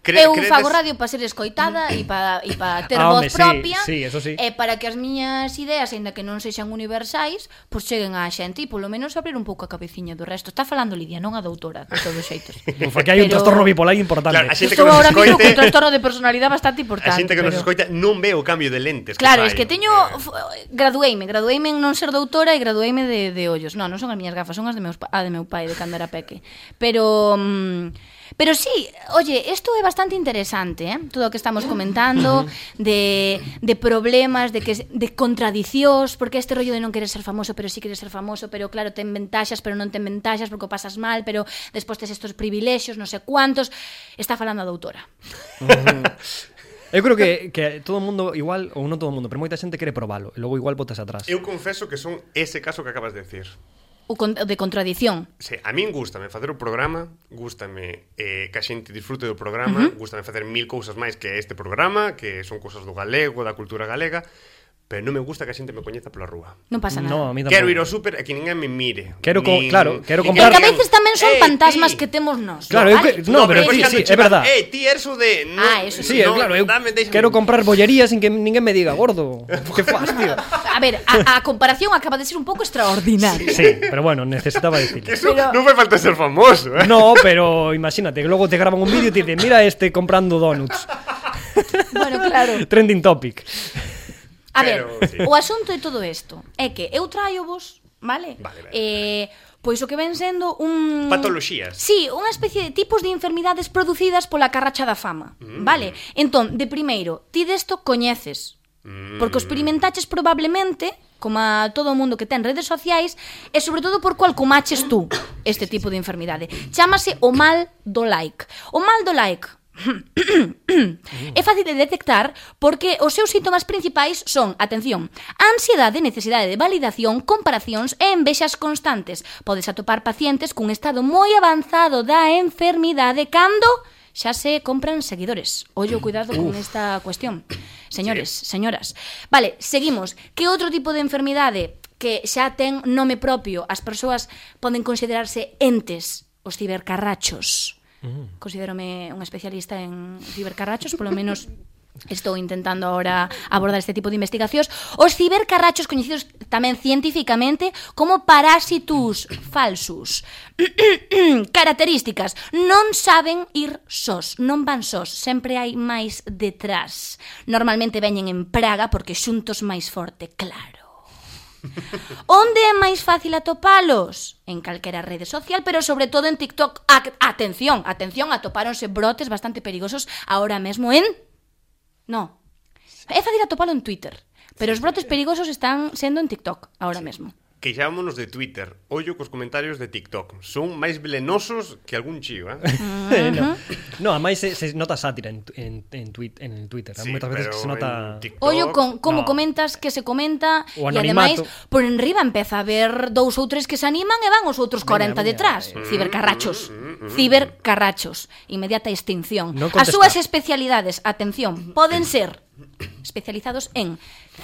Speaker 1: cre,
Speaker 2: Eu
Speaker 1: credes-
Speaker 2: fago radio para ser escoitada e para e para ter
Speaker 3: Ah,
Speaker 2: voz
Speaker 3: home, sí,
Speaker 2: propia
Speaker 3: sí, eso sí.
Speaker 2: e para que as miñas ideas, aínda que non sexan universais, pois cheguen á xente e polo menos abrir un pouco a cabeciña do resto. Está falando Lidia, non a doutora, de todos os xeitos.
Speaker 3: Porque hai un
Speaker 2: Pero-
Speaker 3: trastorno bipolar importante.
Speaker 1: Claro, a xente que
Speaker 2: Estou
Speaker 1: nos
Speaker 2: ahora
Speaker 1: escoite,
Speaker 2: mismo con trastorno de personalidade bastante
Speaker 1: a
Speaker 2: importante.
Speaker 1: xente que nos
Speaker 2: pero-
Speaker 1: escoita non ve o cambio de lentes.
Speaker 2: Claro,
Speaker 1: que
Speaker 2: es que
Speaker 1: fai. eh.
Speaker 2: teño
Speaker 3: eh.
Speaker 2: f- gradueime, gradueime en non ser doutora e gradueime de, de ollos. Non, non son as miñas gafas, son as de meus pa- a de meu pai de cando era peque. Pero mm, pero sí, oye, isto é bastante interesante, eh? Todo o que estamos comentando de, de problemas, de que s- de contradicións, porque este rollo de non querer ser famoso, pero sí querer ser famoso, pero claro, ten ventaxas, pero non ten ventaxas porque o pasas mal, pero despois tes estos privilexios, non sei cuántos. Está falando a doutora.
Speaker 3: Eu creo que, que todo o mundo igual, ou non todo o mundo, pero moita xente quere probalo, e logo igual botas atrás.
Speaker 1: Eu confeso que son ese caso que acabas de decir.
Speaker 2: O con, o de contradición.
Speaker 1: Se, a min gustame facer o programa, gustame eh, que a xente disfrute do programa, uh -huh. gustame facer mil cousas máis que este programa, que son cousas do galego, da cultura galega, pero non me gusta que a xente me coñeza pola rúa.
Speaker 2: Non pasa nada.
Speaker 3: No, a mí tampouco.
Speaker 1: Quero ir ao super e que ninguén me mire.
Speaker 3: Quero co-
Speaker 1: Nin-
Speaker 3: claro, quero
Speaker 1: nin
Speaker 3: comprar-
Speaker 2: É
Speaker 1: que
Speaker 2: que a veces tamén son
Speaker 1: "Eh,
Speaker 2: fantasmas
Speaker 1: ti".
Speaker 2: que temos nós.
Speaker 3: Claro, eu que- No, pero
Speaker 1: despois
Speaker 3: sí,
Speaker 1: cando
Speaker 3: sí, é
Speaker 1: chegan,
Speaker 3: verdad.
Speaker 1: Eh, ti eres o de... No,
Speaker 2: Ah, eso
Speaker 3: Sí, no, claro, eu
Speaker 1: dame, déxame".
Speaker 3: quero comprar bollerías sin que ninguén me diga, gordo, que fas, tío?
Speaker 2: A ver, a, a comparación acaba de ser un pouco extraordinaria.
Speaker 3: Sí, pero bueno, necesitaba decirlo.
Speaker 1: Eso
Speaker 2: Pero-
Speaker 1: non fai falta ser famoso, eh?
Speaker 3: No, pero imagínate, que logo te graban un vídeo e te dicen, mira este comprando donuts.
Speaker 2: Bueno, claro.
Speaker 3: Trending topic.
Speaker 2: A ver,
Speaker 1: Pero, sí.
Speaker 2: o asunto de todo isto é que eu traio vos, vale?
Speaker 1: Vale, vale.
Speaker 2: Eh, pois o que ven sendo un...
Speaker 1: Patoloxías.
Speaker 2: Sí, unha especie de tipos de enfermidades producidas pola carracha da fama, mm. vale? Entón, de primeiro, ti desto coñeces,
Speaker 1: Mm.
Speaker 2: porque o experimentaches probablemente como a todo o mundo que ten redes sociais e sobre todo por cual comaches tú este tipo de enfermidade. Chámase o mal do like. O mal do like É fácil de detectar porque os seus síntomas principais son, atención, ansiedade, necesidade de validación, comparacións e envexas constantes. Podes atopar pacientes cun estado moi avanzado da enfermidade cando xa se compran seguidores. Ollo, cuidado con esta cuestión. Señores, señoras. Vale, seguimos. Que outro tipo de enfermidade que xa ten nome propio, as persoas poden considerarse entes, os cibercarrachos. Considérome un especialista en cibercarrachos, polo menos estou intentando ahora abordar este tipo de investigacións. Os cibercarrachos coñecidos tamén científicamente como parásitos falsus. Características. Non saben ir sós, non van sós, sempre hai máis detrás. Normalmente veñen en praga porque xuntos máis forte, claro. Onde é máis fácil atopalos? En calquera rede social, pero sobre todo en TikTok. A atención, atención, atopáronse brotes bastante perigosos ahora mesmo en... No. É fácil atopalo en Twitter, pero os brotes perigosos están sendo en TikTok ahora mesmo.
Speaker 1: Queixámonos de Twitter. Ollo cos comentarios de TikTok. Son máis velenosos que algún chío, eh?
Speaker 3: no. no, ademais se, se nota sátira en, tu- en, en, tweet, en el Twitter.
Speaker 1: Sí,
Speaker 3: Moitas
Speaker 1: pero
Speaker 3: veces que se nota...
Speaker 1: en TikTok-
Speaker 2: Ollo con como
Speaker 3: No.
Speaker 2: comentas que se comenta e
Speaker 3: O
Speaker 2: ademais
Speaker 3: anonimato.
Speaker 2: por enriba empeza a ver dous ou tres que se animan e van os outros 40
Speaker 3: Veña, Mm, veña.
Speaker 2: detrás. Cibercarrachos.
Speaker 3: mm.
Speaker 2: Cibercarrachos. Inmediata extinción.
Speaker 3: Non
Speaker 2: As
Speaker 3: contestar.
Speaker 2: súas especialidades, atención, poden ser especializados en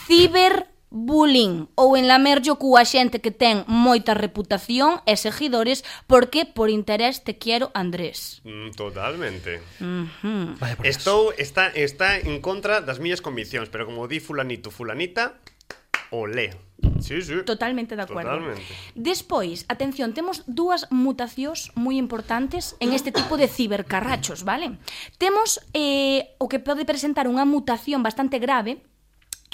Speaker 2: ciberbullying ou en lamerllo cua xente que ten moita reputación e seguidores porque por interés te quiero Andrés.
Speaker 1: Mm, Totalmente.
Speaker 3: Vaya por Dios.
Speaker 1: Estou está está en contra das miñas conviccións, pero como di fulanito, fulanita, olé. Sí, sí.
Speaker 2: Totalmente de acuerdo.
Speaker 1: Totalmente.
Speaker 2: Despois, atención, temos dúas mutacións moi importantes en este tipo de cibercarrachos, vale? Temos eh, o que pode presentar unha mutación bastante grave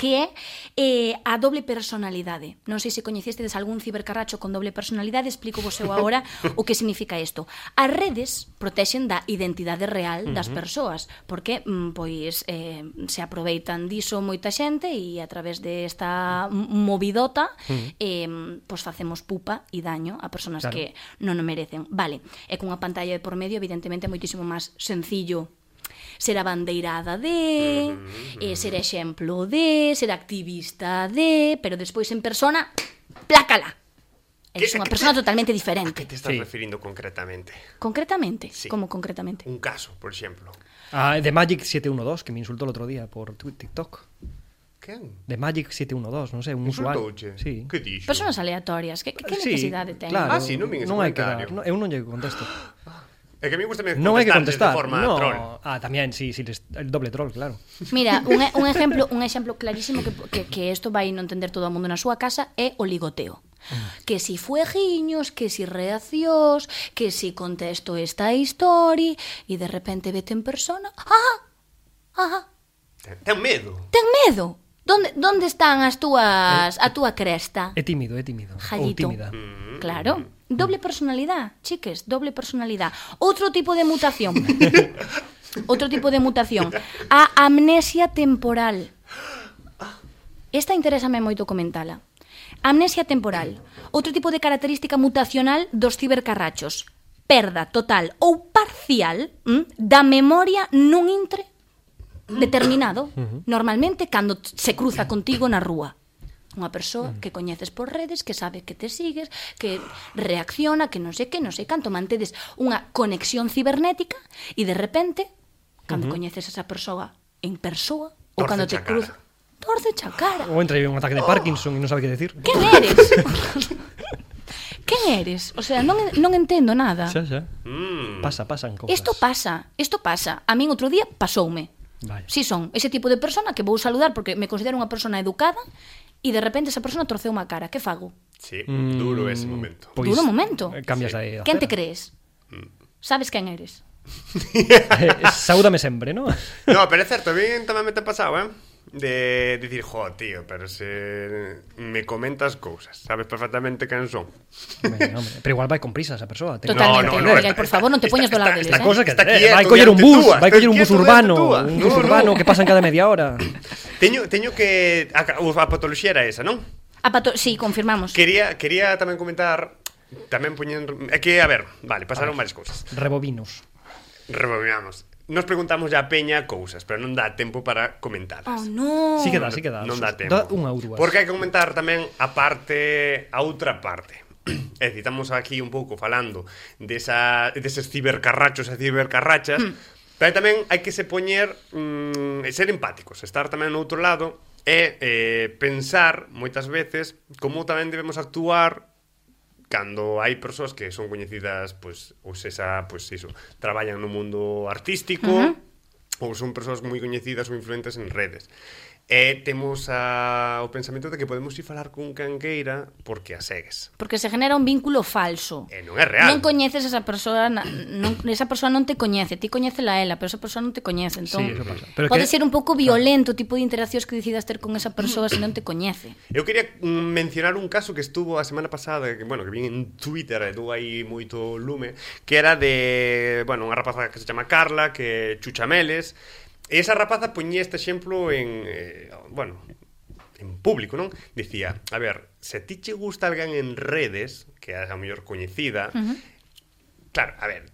Speaker 2: que é eh, a doble personalidade. Non sei se coñecestedes algún cibercarracho con doble personalidade, explico vos eu agora o que significa isto. As redes protexen da identidade real das persoas, porque mm, pois eh, se aproveitan diso moita xente e a través desta m- movidota eh, pois facemos pupa e daño a persoas
Speaker 3: Claro.
Speaker 2: que non o merecen. Vale, e cunha pantalla de por medio evidentemente é moitísimo máis sencillo ser a bandeirada de, eh, ser exemplo de, ser activista de, pero despois en persona, plácala. Eres
Speaker 1: Que-
Speaker 2: unha
Speaker 1: que-
Speaker 2: persona totalmente
Speaker 1: ¿A qué
Speaker 2: diferente.
Speaker 1: te estás
Speaker 3: Sí.
Speaker 1: refiriendo concretamente?
Speaker 2: Concretamente,
Speaker 1: Sí.
Speaker 2: como concretamente.
Speaker 1: Un caso, por ejemplo.
Speaker 3: Ah, The Magic 712, que me insultó el otro día por tu- TikTok.
Speaker 1: ¿Qué?
Speaker 3: The Magic 712, non sei, un usuario.
Speaker 1: Insultouche?
Speaker 3: Sí.
Speaker 1: Que dixo?
Speaker 2: Personas aleatorias, que, que, que
Speaker 3: Sí,
Speaker 2: necesidade ten?
Speaker 3: Claro,
Speaker 1: Ah, sí, non vin ese
Speaker 3: non hai que
Speaker 1: comentario.
Speaker 3: dar, eh, non, eu non lle contesto.
Speaker 1: É que a mí gusta me
Speaker 3: non hai que
Speaker 1: contestar de forma
Speaker 3: contestar. no.
Speaker 1: troll.
Speaker 3: Ah, tamén, sí, sí, les- el doble troll, claro.
Speaker 2: Mira, un, e- un exemplo, un exemplo clarísimo que que que isto vai non entender todo o mundo na súa casa é o ligoteo.
Speaker 1: Ah.
Speaker 2: Que si fueguiños, que si reaccións, que si contesto esta historia e de repente vete en persona. Ah! Ah!
Speaker 1: Ten, ten medo.
Speaker 2: Ten medo. Donde donde están as túas a túa cresta?
Speaker 3: Eh, É tímido, é tímido. Ou
Speaker 2: Jallito.
Speaker 3: tímida.
Speaker 2: Claro. Doble personalidad, chiques, doble personalidad. Outro tipo de mutación. Outro tipo de mutación. A amnesia temporal. Esta interésame moito comentala. Amnesia temporal. Outro tipo de característica mutacional dos cibercarrachos. Perda total ou parcial mm, da memoria nun intre determinado, normalmente cando t- se cruza contigo na rúa. Unha persoa que coñeces por redes, que sabe que te sigues, que reacciona, que non sei que, non sei canto, mantedes unha conexión cibernética e de repente, cando coñeces a esa persoa en persoa, ou
Speaker 1: Torce
Speaker 2: cando te
Speaker 1: a cara.
Speaker 2: cruza, torce a cara.
Speaker 3: Ou entra un ataque de Parkinson e non sabe que decir.
Speaker 2: Quen eres? Quen eres? O sea, non, non entendo nada.
Speaker 3: Xa, xa.
Speaker 1: Mm.
Speaker 3: Pasa, pasan cousas.
Speaker 2: Isto pasa, isto pasa. A min outro día pasoume.
Speaker 3: Vaya.
Speaker 2: Si son ese tipo de persona que vou saludar porque me considero unha persona educada e de repente esa persona torceu unha cara. Que fago?
Speaker 1: Sí,
Speaker 3: Mm,
Speaker 1: duro ese momento.
Speaker 3: pois,
Speaker 2: Duro momento.
Speaker 3: eh, Cambias
Speaker 1: Sí.
Speaker 3: de
Speaker 2: Quen te crees?
Speaker 3: Mm.
Speaker 2: Sabes quen eres?
Speaker 3: crees? Saúdame sempre, non?
Speaker 1: No, pero é certo, a mí tamén me te pasaba, eh? De dicir, jo, tío, pero se me comentas cousas, sabes perfectamente quen son.
Speaker 3: Bueno, hombre, Pero igual vai con prisa esa persoa. ten-
Speaker 2: Total. Totalmente,
Speaker 1: no, no, no,
Speaker 2: Miguel, por favor, non te poñas do lado deles, eh?
Speaker 3: Esta cosa que
Speaker 1: está
Speaker 3: tener,
Speaker 1: quieto,
Speaker 3: vai coller un
Speaker 1: diante
Speaker 3: bus,
Speaker 1: túa,
Speaker 3: vai
Speaker 1: está
Speaker 3: coller un bus
Speaker 1: quieto diante
Speaker 3: urbano,
Speaker 1: túa.
Speaker 3: un
Speaker 1: eh? No,
Speaker 3: bus
Speaker 1: no.
Speaker 3: urbano que pasan cada media hora.
Speaker 1: Teño, teño que... A, a patoloxía era esa, non?
Speaker 2: A pato... Sí, confirmamos.
Speaker 1: Quería, quería tamén comentar... Tamén poñen... É que, a ver, vale, pasaron varias cousas.
Speaker 3: Rebobinos.
Speaker 1: Rebobinamos. Nos preguntamos ya a Peña cousas, pero non dá tempo para comentalas.
Speaker 2: Oh, no.
Speaker 3: Sí que dá, sí que dá.
Speaker 1: Non dá tempo.
Speaker 3: Dá unha ou dúas.
Speaker 1: Porque hai que comentar tamén a parte, a outra parte. É dicir, estamos aquí un pouco falando desa, deses cibercarrachos e cibercarrachas, pero tamén hai que se poñer, mm, e ser empáticos, estar tamén no outro lado e eh, pensar moitas veces como tamén debemos actuar cando hai persoas que son coñecidas, pois, ou esa, pois iso, traballan no mundo artístico, uh -huh. ou son persoas moi coñecidas ou influentes en redes. E temos a, o pensamento de que podemos ir falar con canqueira porque a segues.
Speaker 2: Porque se genera un vínculo falso.
Speaker 1: E non é real.
Speaker 2: Non coñeces esa persoa, na- non, esa persoa non te coñece, ti coñecela a ela, pero esa persoa non te coñece, entón.
Speaker 3: Sí, eso pasa. Pero
Speaker 2: pode
Speaker 3: que-
Speaker 2: ser un pouco violento o tipo de interaccións que decidas ter con esa persoa se non te coñece.
Speaker 1: Eu quería mm, mencionar un caso que estuvo a semana pasada, que, bueno, que vin en Twitter e dou aí moito lume, que era de, bueno, unha rapaza que se chama Carla, que chucha meles. E esa rapaza poñía este exemplo en, eh, bueno, en público, non? Dicía, a ver, se a ti che gusta alguén en redes, que é a mellor coñecida, uh -huh. Claro, a ver,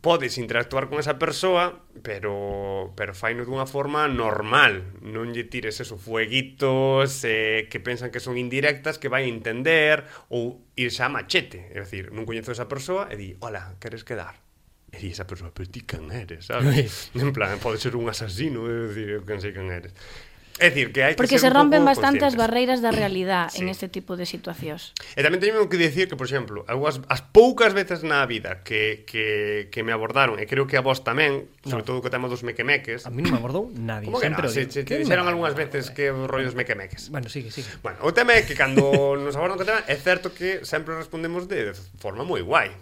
Speaker 1: podes interactuar con esa persoa, pero pero faino dunha forma normal, non lle tires esos fueguitos eh, que pensan que son indirectas, que vai entender ou ir xa a machete, é dicir, non coñezo esa persoa e di, "Hola, queres quedar?" E di esa persoa, "Pero ti can eres?", sabes? en plan, pode ser un asasino, é dicir, eu quen sei quen eres. É dicir, que hai que
Speaker 2: Porque
Speaker 1: ser
Speaker 2: se
Speaker 1: un pouco
Speaker 2: rompen bastante as
Speaker 1: conscientes.
Speaker 2: barreiras da realidad
Speaker 1: Sí.
Speaker 2: en este tipo de situacións.
Speaker 1: E tamén teño que dicir que, por exemplo, eu as, as poucas veces na vida que, que, que me abordaron, e creo que a vos tamén, sobre todo co tema dos mequemeques,
Speaker 3: Ah. A mí non me abordou nadie.
Speaker 1: como que non?
Speaker 3: sempre o digo.
Speaker 1: Se, se,
Speaker 3: ¿Qué
Speaker 1: te dixeron
Speaker 3: me-
Speaker 1: algunhas veces que os rollos mequemeques.
Speaker 3: Bueno, sigue, sigue.
Speaker 1: Bueno, o tema é que cando nos abordan co tema, é certo que sempre respondemos de forma moi guai.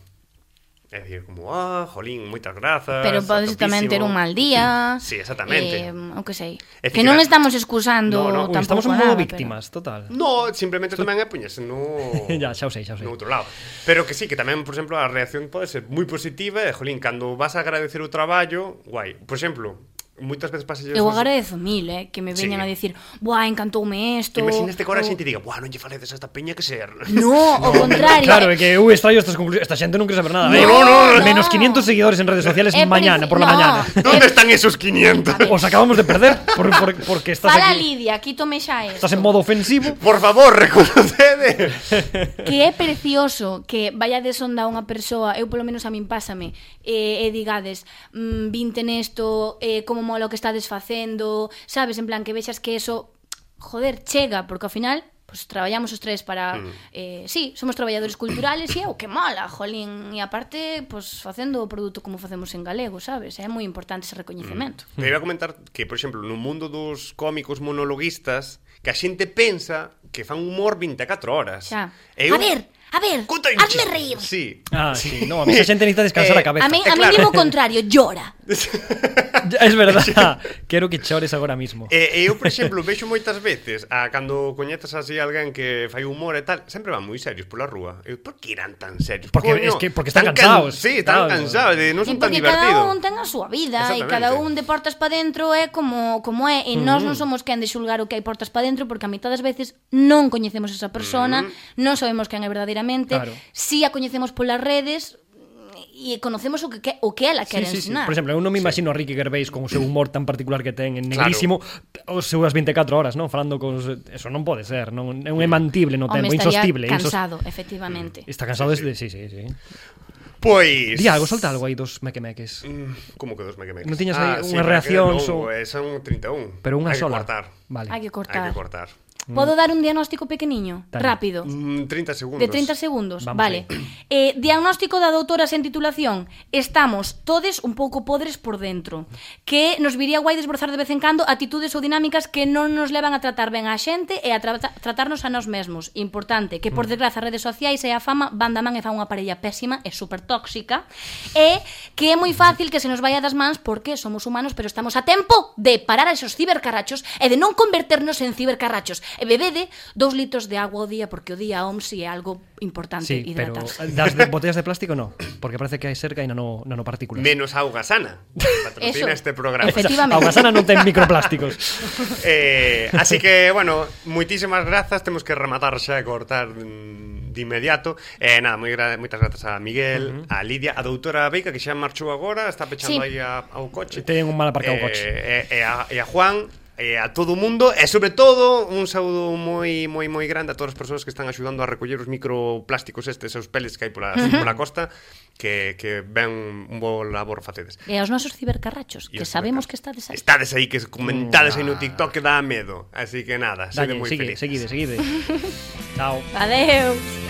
Speaker 1: É dicir, como, ah, jolín, moitas
Speaker 3: Ah,
Speaker 1: grazas.
Speaker 2: Pero podes
Speaker 1: atopísimo".
Speaker 2: tamén ter un mal día.
Speaker 1: Sí, exactamente.
Speaker 2: Eh, o que sei.
Speaker 1: É dicir,
Speaker 2: Que non
Speaker 1: que-
Speaker 2: estamos excusando
Speaker 1: No, no,
Speaker 2: tampouco
Speaker 3: estamos un
Speaker 2: nada,
Speaker 3: modo
Speaker 2: pero-
Speaker 3: víctimas, total.
Speaker 1: No, simplemente tamén é poñerse no...
Speaker 3: ya, xa o sei, xa o sei.
Speaker 1: no outro lado. Pero que sí, que tamén, por exemplo, a reacción pode ser moi positiva e, jolín, cando vas a agradecer o traballo, guai. Por exemplo, moitas veces pasa...
Speaker 2: Eu agradezo mil, eh, que me
Speaker 1: Sí.
Speaker 2: veñan a dicir, "Buah, encantoume isto."
Speaker 1: Imaginaste que agora a
Speaker 2: ou-
Speaker 1: xente diga, buah, non lle faledes a esta peña que ser...
Speaker 2: No, ao contrario.
Speaker 3: Claro, é que eu extraño estas conclusións. Esta xente non quere saber nada.
Speaker 2: No,
Speaker 3: eh.
Speaker 2: no, no.
Speaker 3: Menos 500 seguidores en redes sociales
Speaker 2: É
Speaker 3: mañana,
Speaker 2: preci-
Speaker 3: por la
Speaker 2: no.
Speaker 3: mañana.
Speaker 1: ¿Dónde están esos 500?
Speaker 3: Os acabamos de perder por- por- porque estás
Speaker 2: Para
Speaker 3: aquí.
Speaker 2: eh, Lidia, quítome xa esto.
Speaker 3: Estás en modo ofensivo.
Speaker 1: Por favor, reconocede.
Speaker 2: que é precioso que vaya de sonda unha persoa, eu polo menos a min pásame, e, e digades, mm, vinte nesto, eh, como mola o que estades facendo, sabes, en plan, que vexas que eso, joder, chega, porque ao final, pues, traballamos os tres para...
Speaker 1: Mm.
Speaker 2: Eh, sí, somos traballadores culturales e é o que mola, jolín. E aparte, pues, facendo o produto como facemos en galego, sabes? É moi importante ese recoñecemento.
Speaker 1: Te iba a comentar que, por exemplo, no mundo dos cómicos monologuistas, que a xente pensa que fan humor 24 horas.
Speaker 2: Xa.
Speaker 1: E eu-
Speaker 2: A ver, a ver,
Speaker 1: Conta un
Speaker 2: hazme
Speaker 1: chiste.
Speaker 2: reír.
Speaker 1: Sí.
Speaker 3: Ah, sí. No, a mí esa xente necesita descansar
Speaker 1: Eh,
Speaker 3: a
Speaker 2: A
Speaker 3: cabeza.
Speaker 1: eh,
Speaker 2: min, a min
Speaker 1: claro.
Speaker 2: dimo o contrario, llora.
Speaker 3: Ya, Es verdad. Eh, Quero que chores agora mismo.
Speaker 1: E, e eh, eu, por exemplo, vexo moitas veces a cando coñezas así alguén que fai humor e tal, sempre van moi serios pola rúa. Eu, por que irán tan serios?
Speaker 3: Porque
Speaker 1: Coño,
Speaker 3: es que- porque
Speaker 1: tan
Speaker 3: están cansados.
Speaker 1: Sí, están
Speaker 3: Claro.
Speaker 1: cansados, de, non son
Speaker 2: Sí,
Speaker 1: tan
Speaker 2: porque cada
Speaker 1: divertidos.
Speaker 2: un ten a súa vida e
Speaker 1: Exactamente.
Speaker 2: cada un de portas pa dentro é como como é e nós non somos quen de xulgar o que hai portas pa dentro porque a mitad das veces non coñecemos esa persona, non sabemos quen é verdadeiramente,
Speaker 3: Claro.
Speaker 2: si a coñecemos polas redes e conocemos o que, que o que ela quere ensinar.
Speaker 3: Por exemplo, eu non me imagino a Ricky Gervais con o seu humor tan particular que ten en negrísimo claro. os seus 24 horas, non? Falando con... os- Eso non pode ser, non? É un emantible no
Speaker 2: Home,
Speaker 3: tempo,
Speaker 2: estaría
Speaker 3: insostible. insos- Mm,
Speaker 2: cansado, efectivamente.
Speaker 3: Está cansado desde... Sí, sí, sí.
Speaker 1: Pois...
Speaker 3: Di algo, solta algo aí dos mequemeques.
Speaker 1: Mm, Como que dos mequemeques?
Speaker 3: Non tiñas
Speaker 1: ah,
Speaker 3: aí
Speaker 1: sí,
Speaker 3: unha
Speaker 1: pero
Speaker 3: reacción,
Speaker 1: que
Speaker 3: so-
Speaker 1: non, eh, Son 31.
Speaker 3: Pero unha
Speaker 1: Hai que
Speaker 3: sola.
Speaker 1: cortar.
Speaker 3: Vale.
Speaker 2: Hai que
Speaker 1: Hai
Speaker 2: cortar.
Speaker 1: que cortar.
Speaker 2: Podo dar un diagnóstico pequeniño,
Speaker 3: Dale.
Speaker 2: rápido.
Speaker 1: Mm, 30 segundos.
Speaker 2: De 30 segundos,
Speaker 3: Vamos
Speaker 2: vale. Eh, diagnóstico da doutora sen titulación. Estamos todes un pouco podres por dentro. Que nos viría guai desbrozar de vez en cando atitudes ou dinámicas que non nos levan a tratar ben a xente e a tra tratarnos a nós mesmos. Importante, que por desgraza as redes sociais e a fama van da man e fan unha parella pésima e super tóxica. E que é moi fácil que se nos vaya das mans porque somos humanos pero estamos a tempo de parar a esos cibercarrachos e de non converternos en cibercarrachos. E bebede dous litros de agua ao día porque o día OMS é algo importante
Speaker 3: Sí, pero
Speaker 2: hidratarse.
Speaker 3: das de botellas de plástico no, porque parece que hai cerca e nano, nanopartículas.
Speaker 1: Menos auga sana. Patrocina
Speaker 2: Eso.
Speaker 1: este programa.
Speaker 2: Efecti-
Speaker 3: A Guasana non ten microplásticos.
Speaker 1: Eh, así que, bueno, moitísimas grazas Temos que rematar xa e cortar mm, de inmediato eh, Nada, moi gra moitas grazas a Miguel, uh -huh. a Lidia A doutora Veica que xa marchou agora Está pechando sí. aí
Speaker 2: Sí.
Speaker 1: a, ao coche
Speaker 3: Ten un mal aparcado o coche.
Speaker 1: eh, e, a, e a Juan e a todo o mundo e sobre todo un saúdo moi moi moi grande a todas as persoas que están axudando a recoller os microplásticos estes, os pellets que hai pola, pola costa que, que ben un bo labor facedes
Speaker 2: E aos nosos cibercarrachos,
Speaker 1: Y
Speaker 2: que
Speaker 1: os
Speaker 2: sabemos
Speaker 1: mercados.
Speaker 2: que estades aí.
Speaker 1: Estades aí, que comentades aí no TikTok que dá medo. Así que nada, sede
Speaker 3: Dalle,
Speaker 1: moi
Speaker 3: sigue,
Speaker 1: felices.
Speaker 3: seguide, seguide. Chao.
Speaker 2: Adeus.